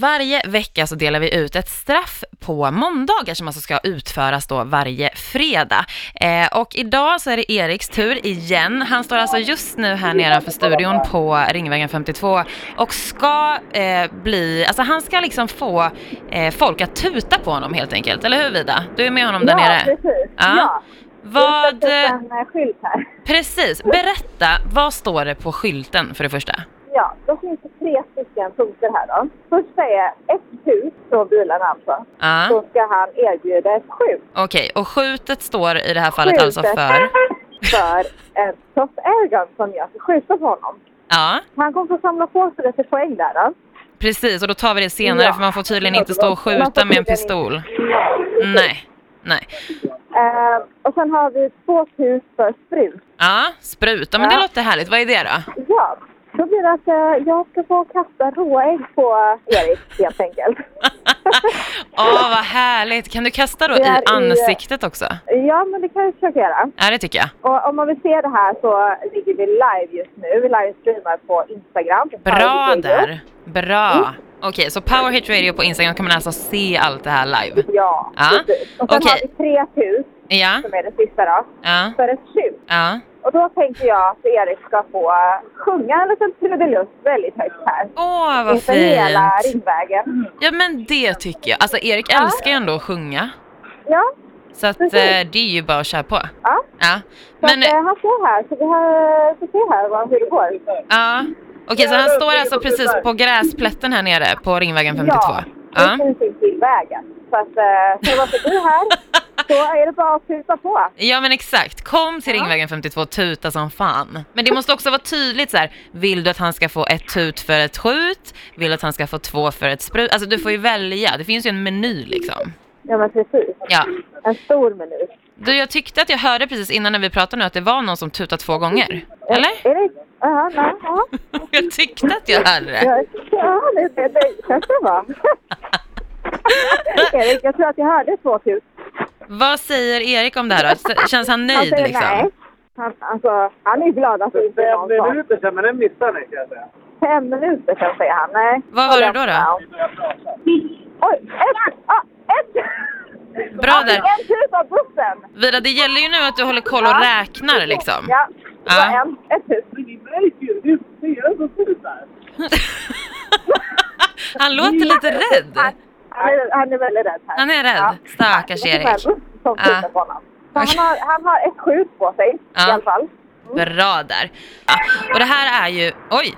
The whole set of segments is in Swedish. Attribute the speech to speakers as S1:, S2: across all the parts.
S1: varje vecka så delar vi ut ett straff på måndagar som alltså ska utföras då varje fredag. Eh, och idag så är det Eriks tur igen. Han står alltså just nu här nedanför studion på Ringvägen 52 och ska eh, bli, alltså han ska liksom få eh, folk att tuta på honom helt enkelt. Eller hur Vida? Du är med honom där
S2: ja,
S1: nere?
S2: precis.
S1: Ja.
S2: Ja.
S1: Vad,
S2: Det är en eh, skylt här.
S1: precis, berätta, vad står det på skylten för det första?
S2: Ja, då finns det tre stycken punkter här då. Första är ett hus från bilarna alltså.
S1: Ja.
S2: Då ska han erbjuda ett skjut.
S1: Okej, och skjutet står i det här fallet alltså
S2: Skjutet
S1: för...
S2: För en soft airgun som jag ska skjuta på honom.
S1: Ja,
S2: Han kommer få samla på sig lite poäng där då.
S1: precis. Och då tar vi det senare
S2: Ja.
S1: för man får tydligen inte stå och
S2: Man får
S1: skjuta med en
S2: tydligen
S1: pistol. Mm.
S2: inte.
S1: Nej, nej.
S2: Eh, och sen har vi två hus för sprut.
S1: Ja, spruta. Men det
S2: Ja.
S1: låter härligt. Vad är det då?
S2: Ja, då blir det att eh, jag ska få kasta råägg på Erik helt enkelt.
S1: Åh, vad härligt. Kan du kasta då
S2: Det är
S1: i
S2: i-
S1: ansiktet också?
S2: ja, men det kan jag försöka göra.
S1: Ja, det tycker jag.
S2: Och om man vill se det här så ligger vi live just nu. Vi livestreamar på Instagram.
S1: Bra
S2: Power Radio.
S1: där. Bra.
S2: Mm.
S1: Okej, så Power Hit Radio på Instagram kan man alltså se allt det här live.
S2: Ja,
S1: Ja,
S2: precis. Och sen
S1: okej.
S2: har vi 3000
S1: Ja,
S2: som är det sista då,
S1: ja,
S2: för ett tjut.
S1: ja.
S2: Och då tänker jag att Erik ska få eh, sjunga en liten trudelutt väldigt högt här.
S1: Åh, vad
S2: Inför hela
S1: fint.
S2: Ringvägen.
S1: Ja, men det tycker jag. Alltså, Erik älskar ju ändå att sjunga.
S2: Ja,
S1: Så att eh,
S2: Precis.
S1: det är ju bara att köra på.
S2: ja.
S1: Ja.
S2: Så
S1: Men,
S2: att, eh, han står här, så vi har, får se här vad- hur det går.
S1: ja. Okej, så han står alltså precis på gräsplätten här nere på Ringvägen 52?
S2: Ja,
S1: Ja.
S2: precis intill vägen. Så att, eh, ska man förbi här så är det bara att tuta på.
S1: Ja men exakt, kom till Ringvägen 52 tuta som fan. Men det måste också vara tydligt så här. vill du att han ska få ett tut för ett skjut? Vill du att han ska få två för ett sprut? Alltså du får ju välja, det finns ju en meny liksom.
S2: Ja, men precis.
S1: Ja.
S2: En stor minut.
S1: Du, jag tyckte att jag hörde precis innan när vi pratade nu att det var någon som tutade två gånger. Eller?
S2: Är det... Ja, nej, ja.
S1: Jag tyckte att jag hörde det.
S2: Ja, ja, det, det, det kanske det var. Erik, jag tror att jag hörde två tut.
S1: Vad säger Erik om det här då? Känns han
S2: Han
S1: nöjd
S2: säger nej.
S1: liksom?
S2: Han, alltså, han är glad att det inte är
S3: Fem
S2: någon som...
S3: minuter sedan, men den missade ni kan jag säga.
S2: Fem minuter sedan säger han. Nej.
S1: Vad var det då, då?
S2: Ja. Oj, ett! Ah, ett!
S1: Bra
S2: Ja,
S1: där.
S2: En tut av bussen!
S1: Vida, det gäller ju nu att du håller koll och
S2: Ja.
S1: räknar liksom.
S2: Ja, det var
S1: Ja.
S2: en. Ett tut.
S3: Men ni märker ju, det är fyra som tutar.
S1: Han låter lite rädd.
S2: Han är, han är väldigt rädd här.
S1: Han är rädd. Stackars
S2: Det är
S1: Erik.
S2: en buss som
S1: Ja.
S2: tutar på honom. Så
S1: Okej.
S2: han, har, han har ett skjut på sig
S1: Ja.
S2: i alla fall.
S1: Bra där. Ja. Och det här är ju... Oj!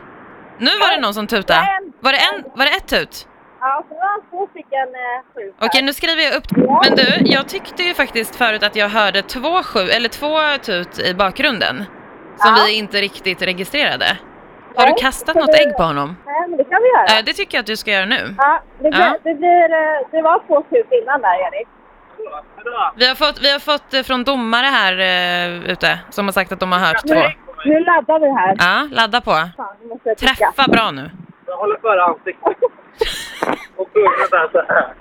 S1: Nu var det någon som tutade. Var det, en, var det ett tut?
S2: Ja, så det var två stycken eh, skjut.
S1: Okej, nu skriver jag upp. Men du, jag tyckte ju faktiskt förut att jag hörde två, sju, eller två tut i bakgrunden. Som
S2: Ja.
S1: vi inte riktigt registrerade. Har du
S2: Nej,
S1: kastat
S2: så
S1: något
S2: det-
S1: ägg på honom?
S2: Nej, men det kan vi göra.
S1: Eh, Det tycker jag att du ska göra nu.
S2: Ja, det, blir,
S1: Ja.
S2: Det, blir, eh, det var två skjut innan där, Erik.
S3: Bra.
S1: Vi har fått, vi har fått eh, från domare här eh, ute som har sagt att de har hört två.
S2: Nu laddar vi här.
S1: Ja, ladda på.
S2: Fan, nu måste jag trycka.
S1: Träffa bra nu.
S3: Jag håller för ansiktet. Och sjunger där så här.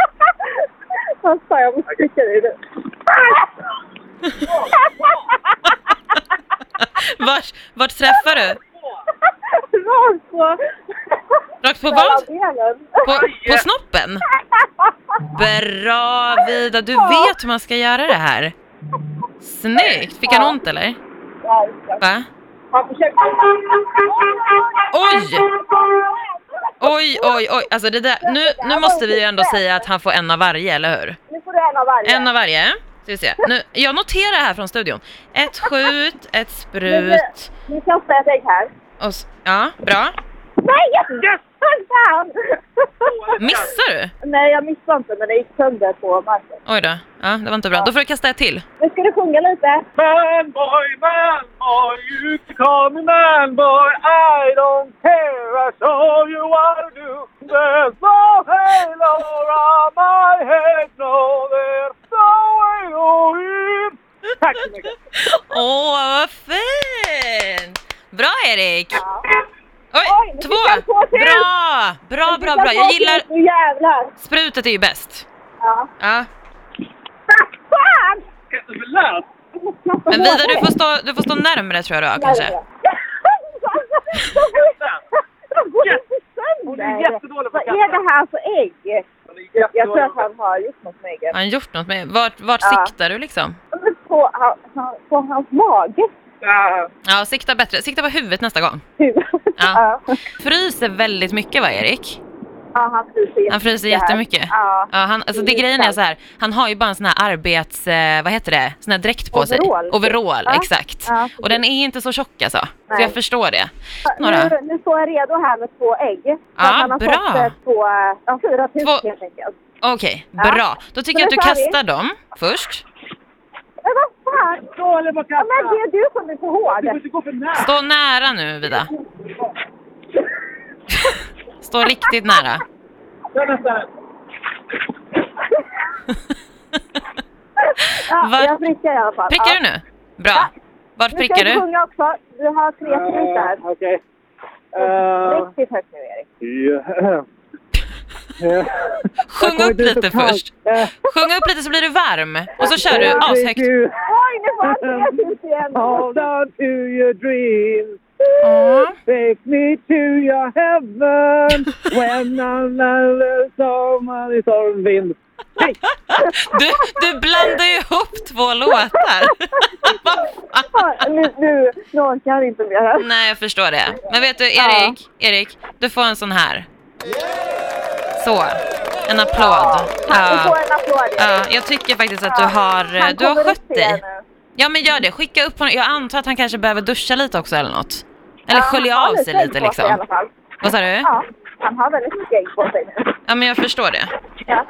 S2: Vad fan, jag måste trycka i det.
S1: Vart, vart träffar du?
S2: Rakt på...
S1: Rakt på
S2: Mellan
S1: vad?
S2: benen.
S1: På, på snoppen? Bra Vida, du vet hur man ska göra det här. Snyggt! Fick han ont eller?
S2: Ja, just det.
S1: Va?
S2: Han försökte...
S1: Oj! Oj, oj, oj. Alltså det där. Nu, nu måste vi ju ändå säga att han får en av varje, eller hur?
S2: Nu får du en av varje.
S1: En av varje. Ska vi se. Nu, jag noterar här från studion. Ett skjut, ett sprut
S2: Nu kastar jag ett ägg här.
S1: och... s- Ja, bra.
S2: Nej, yes! yes! Fan!
S1: Missar du?
S2: Nej, jag missade inte, men det gick sönder på marken.
S1: Oj då. Ja, det var inte bra. Då får du kasta ett till.
S2: Nu ska du sjunga lite.
S3: Manboy, manboy, you call me manboy. I don't care, I show you what to do. There's no halo around my head, no there's no halo in. Tack så mycket.
S1: Åh, vad fint! Bra Erik!
S2: Oj,
S1: Oj,
S2: nu
S1: två!
S2: fick jag två till.
S1: Bra! Bra, bra, bra. Jag gillar...
S2: Nu jävlar!
S1: Sprutet är ju bäst.
S2: Ja.
S1: Ja.
S2: Fan!
S3: Förlåt.
S1: Men Vida, du får stå, du får stå närmare tror jag då, kanske.
S2: De går inte
S3: Hon
S2: sönder
S3: är jättedålig på
S2: Vad
S3: att
S2: är det här för ägg?
S3: Hon är
S2: Jag tror
S3: jättedålig
S2: att
S3: på att
S2: han har gjort något med ägget.
S1: Har han gjort något med Vart, vart
S2: Ja.
S1: siktar du liksom?
S2: Men På, han, han, på hans mage.
S3: Ja.
S1: Ja, sikta bättre. Sikta på huvudet nästa gång.
S2: Typ.
S1: Ja.
S2: Ja.
S1: Fryser väldigt mycket va, Erik?
S2: ja, han fryser
S1: Han fryser
S2: här.
S1: jättemycket.
S2: Ja.
S1: Ja, han, alltså det grejen är så här, han har ju bara en sån här arbets... Eh, vad heter det? Sån här dräkt på
S2: Overall,
S1: sig.
S2: typ.
S1: Overall.
S2: Ja.
S1: exakt.
S2: Ja,
S1: och den är inte så tjock alltså. Så
S2: Nej.
S1: jag förstår det. Några.
S2: Nu, nu står jag redo här med två ägg. Så
S1: Ja,
S2: att han har
S1: bra.
S2: fått eh, två, ja, fyra tusen
S1: Två-
S2: helt enkelt.
S1: Okej,
S2: Ja.
S1: bra. Då tycker
S2: Så
S1: jag att du
S2: då tar vi.
S1: kastar dem först.
S2: Men Eh, vad fan!
S3: Dålig på att
S2: Ja, men det
S3: kasta!
S2: är du som är så
S3: Du får
S2: hård.
S3: inte gå för nära!
S1: Stå nära nu, Vida. Stå riktigt nära.
S3: Kör nästa!
S2: Ja,
S1: Var-
S2: Jag prickar i alla fall.
S1: Prickar du
S2: ja.
S1: nu? Bra. Vart
S2: Nu ska
S1: prickar
S2: jag
S1: du?
S2: sjunga också. Du har tre
S3: Eh,
S2: minuter.
S3: Okej. Eh,
S2: Riktigt högt nu, Erik.
S3: ja. Eh,
S1: Sjung
S3: jag
S1: upp
S3: kommer
S1: lite
S3: dit och kan-
S1: först.
S3: Eh,
S1: Sjung upp lite så blir du varm. Och så kör du
S3: eh,
S1: ashögt.
S3: you
S2: Oj, nu var han tre tusen igen.
S3: Hold on to your dreams
S1: Ja.
S3: Take me to your heaven When another someone is on wind Hej!
S1: Du, du blandar ju ihop två låtar. Vad fan?
S2: Ja, Nu, nu, nu orkar jag inte mer.
S1: Nej, jag förstår det. Men vet du, Erik, Erik, du får en sån här. Så. En applåd.
S2: Du
S1: Ja.
S2: får en applåd,
S1: Ja,
S2: Erik.
S1: jag tycker faktiskt att du har, eh,
S2: Han
S1: du har
S2: kommer
S1: skött
S2: upp igen
S1: dig.
S2: nu.
S1: Ja men gör det, skicka upp honom. Jag antar att han kanske behöver duscha lite också eller något. Eller
S2: Ja,
S1: skölja
S2: han har
S1: av sig
S2: skägg
S1: lite
S2: på i alla
S1: liksom.
S2: fall.
S1: Vad sa du?
S2: Ja, han har väldigt mycket ägg på sig nu.
S1: Ja men jag förstår det.
S2: Ja.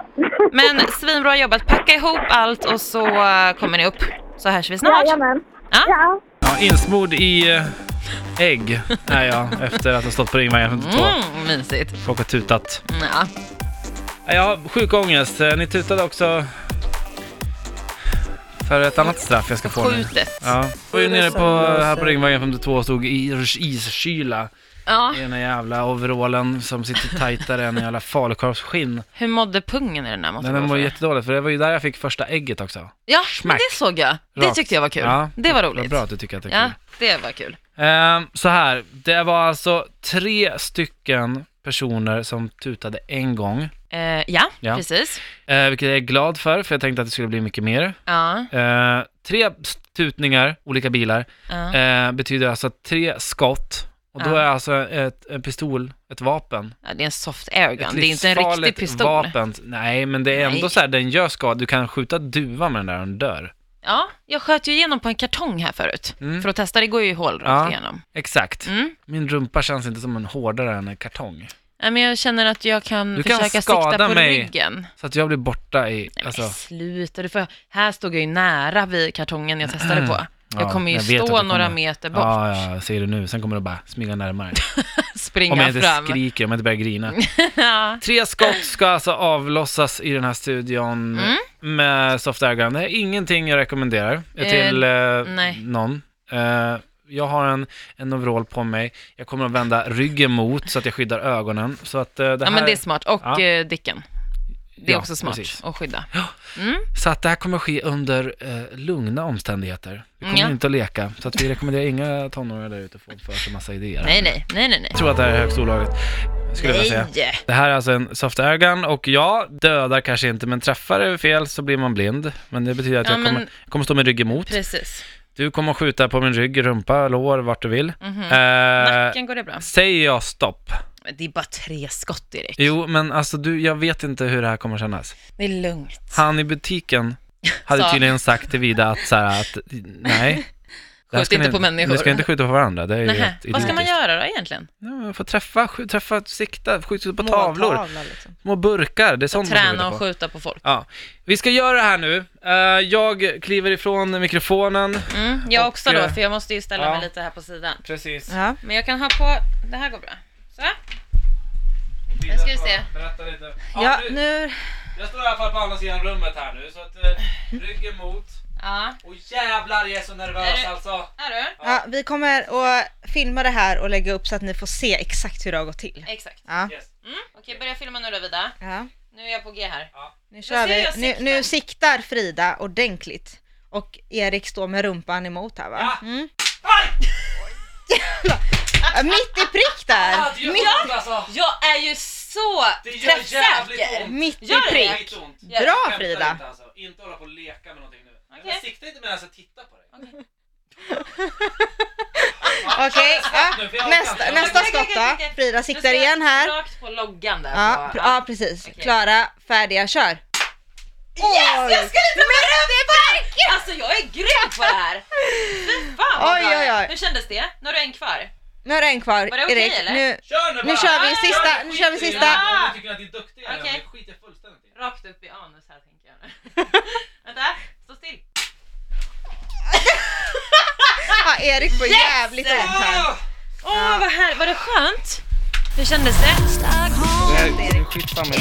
S1: Men svinbra jobbat, packa ihop allt och så eh, kommer ni upp. Så hörs vi snart.
S2: Jajamän.
S1: Ja.
S2: Ja.
S4: Ja, insmord i eh, ägg är jag efter att ha stått på Ringvägen 52.
S1: Mm, mysigt.
S4: Folk har tutat.
S1: Mm, Ja.
S4: Ja, Jag har sjuk ångest. Eh, Ni tutade också för ett annat straff jag ska få nu.
S1: Skjutet.
S4: Ja. Jag var ju nere på, här på Ringvägen 52 och stod i iskyla
S1: Ja.
S4: i den här jävla overallen som sitter tajtare än en jävla falukorvsskinn.
S1: Hur mådde pungen i den där måste
S4: Den
S1: jag
S4: var
S1: fråga.
S4: jättedålig för det var ju där jag fick första ägget också.
S1: Ja, men
S4: Smack.
S1: det såg jag. Det
S4: Rakt.
S1: tyckte jag var kul.
S4: Ja,
S1: Det var
S4: Vad
S1: roligt.
S4: bra att du tycker att det är kul.
S1: Ja, det var kul.
S4: Ehm, så här, det var alltså tre stycken personer som tutade en gång.
S1: Eh, ja,
S4: Ja.
S1: precis.
S4: Eh, vilket jag är glad för, för jag tänkte att det skulle bli mycket mer.
S1: Ja,
S4: Eh, tre tutningar, olika bilar,
S1: ja.
S4: eh, betyder alltså tre skott. Och då
S1: Ja.
S4: är alltså ett, en pistol, ett vapen.
S1: Ja, det är en soft airgun.
S4: Ett
S1: Det är inte en riktig
S4: livsfarligt
S1: pistol.
S4: Vapen. Nej, men det är ändå
S1: Nej.
S4: så här, den gör skada. Du kan skjuta duva med den där och den dör.
S1: Ja, jag sköt ju igenom på en kartong här förut.
S4: Mm.
S1: För att testa, det går ju hål rakt
S4: Ja.
S1: igenom.
S4: Exakt.
S1: Mm.
S4: Min rumpa känns inte som en hårdare än en kartong.
S1: Nej, men jag känner att jag kan
S4: Du kan
S1: försöka sikta
S4: skada
S1: på
S4: mig.
S1: ryggen.
S4: Så att jag blir borta i...
S1: Nej,
S4: alltså,
S1: men sluta du, för här stod jag ju nära vid kartongen jag testade på. Jag kommer ju
S4: jag vet att
S1: stå
S4: du
S1: några
S4: kommer.
S1: meter bort,
S4: Ja, ja, jag ser det nu. Sen kommer det bara smyga närmare.
S1: springa
S4: Om jag inte
S1: fram. Mm.
S4: skriker, om jag inte börjar grina.
S1: ja.
S4: Tre skott ska alltså avlossas i den här studion
S1: Mm.
S4: med soft airgun. Det är ingenting jag rekommenderar
S1: Eh,
S4: till eh,
S1: nej.
S4: någon. Eh, jag har en, en overall på mig. Jag kommer att vända ryggen mot så att jag skyddar ögonen. Så att, eh, det
S1: ja,
S4: här,
S1: men det är smart. Och
S4: Ja.
S1: eh, Dicken. Det är
S4: Ja,
S1: också smart
S4: precis.
S1: att skydda.
S4: så att det här kommer att ske under eh, lugna omständigheter. Vi kommer
S1: Mm, ja.
S4: inte att leka. Så att vi rekommenderar inga tonåringar där ute att få för sig massa idéer.
S1: Nej, nej, nej, nej, nej.
S4: Jag tror att det här är högst olagligt, skulle jag vilja säga.
S1: Nej!
S4: Det här är alltså en soft airgun och ja, dödar kanske inte, men träffar det fel så blir man blind. Men det betyder att
S1: Ja,
S4: jag
S1: men-
S4: kommer, kommer stå med rygg emot.
S1: Precis.
S4: Du kommer skjuta på min rygg, rumpa, lår, vart du vill.
S1: Mhm.
S4: Eh,
S1: Nacken går det bra.
S4: säger jag stopp?
S1: Men det är bara tre skott, Erik.
S4: Jo, men alltså du, jag vet inte hur det här kommer kännas.
S1: Det är lugnt.
S4: Han i butiken hade
S1: Sa-
S4: tydligen sagt till Vida att så här, att nej. det här
S1: Skjut
S4: ska
S1: inte
S4: ni-
S1: på människor.
S4: Ni ska inte skjuta på varandra, det är ju
S1: Nähä.
S4: helt
S1: Vad ska man
S4: idiotiskt.
S1: göra då egentligen?
S4: Ja, man får träffa, skj- träffa, sikta, skjuta på tavlor. Små burkar, det är sånt man ska skjuta
S1: liksom. Träna
S4: på.
S1: och skjuta på folk.
S4: Ja, vi ska göra det här nu. Eh, jag kliver ifrån mikrofonen.
S1: Mm, jag
S4: Och,
S1: också då,
S4: eh,
S1: för jag måste ju ställa
S4: ja.
S1: mig lite här på sidan.
S4: Precis.
S5: Ja.
S1: Men jag kan ha på, det här går bra. Så, nu ska vi se.
S4: Berätta lite. Ja,
S5: Ja,
S4: nu,
S5: nu...
S4: Jag står i alla fall på andra sidan rummet här nu, så att eh, rygg emot.
S1: ja.
S4: Och jävlar, jag är så nervös
S1: Är det-
S4: alltså.
S1: Är du?
S5: Ja, vi kommer att filma det här och lägga upp så att ni får se exakt hur det har gått till.
S1: Exakt.
S5: Ja.
S4: Yes.
S1: Mm. Okej, börja filma nu då Vida.
S5: ja.
S1: Nu är jag på G här.
S5: Nu, kör
S1: ser
S5: vi.
S1: jag
S5: Nu,
S1: siktar.
S5: nu siktar Frida ordentligt. Och Erik står med rumpan emot här va?
S4: Ja.
S5: Mm.
S4: Aj!
S5: Jävlar. Mm. Ja, Mitt i prick där!
S4: ont alltså!
S1: Jag är ju så träffsäker!
S5: Mitt i
S1: Gör det?
S5: prick!
S4: ont.
S5: Bra Frida!
S4: Inte, alltså. inte hålla på och leka med någonting nu.
S1: Men Okej.
S4: Sikta inte medan jag tittar på dig.
S5: Okej, ja.
S4: nu, för jag orkar
S5: nästa,
S4: inte.
S5: nästa
S1: Okej, okej,
S5: skott då.
S1: okej, okej.
S5: Frida
S1: Nu
S5: siktar
S1: ska jag
S5: igen här.
S1: Rakt på loggan där.
S5: Ja,
S1: på,
S5: pr- ja precis.
S1: Okej.
S5: Klara, färdiga, kör!
S1: Yes! Jag
S5: Oj.
S1: skulle få beröm! Alltså jag är grym på det här! Fy fan vad
S5: Oj,
S1: bra
S5: oj,
S1: jag är.
S5: oj.
S1: Hur kändes det? Nu har du en kvar.
S5: Nu har du en kvar,
S1: Var det okej,
S5: Erik.
S1: eller?
S5: Nu,
S4: Kör nu bara! Ah,
S5: nu kör vi sista,
S4: Kör,
S5: nu kör vi
S4: skit i det.
S5: sista.
S4: Om du tycker att det är duktigt
S1: Okej.
S4: okay. skiter jag fullständigt i.
S1: Rakt upp i anus här tänker jag nu. Vänta, stå still.
S5: Ja, Erik får
S1: Yes!
S5: jävligt ont här.
S4: Ah!
S1: Åh vad här, var det skönt? Hur kändes det?
S6: Nej, skitsamma.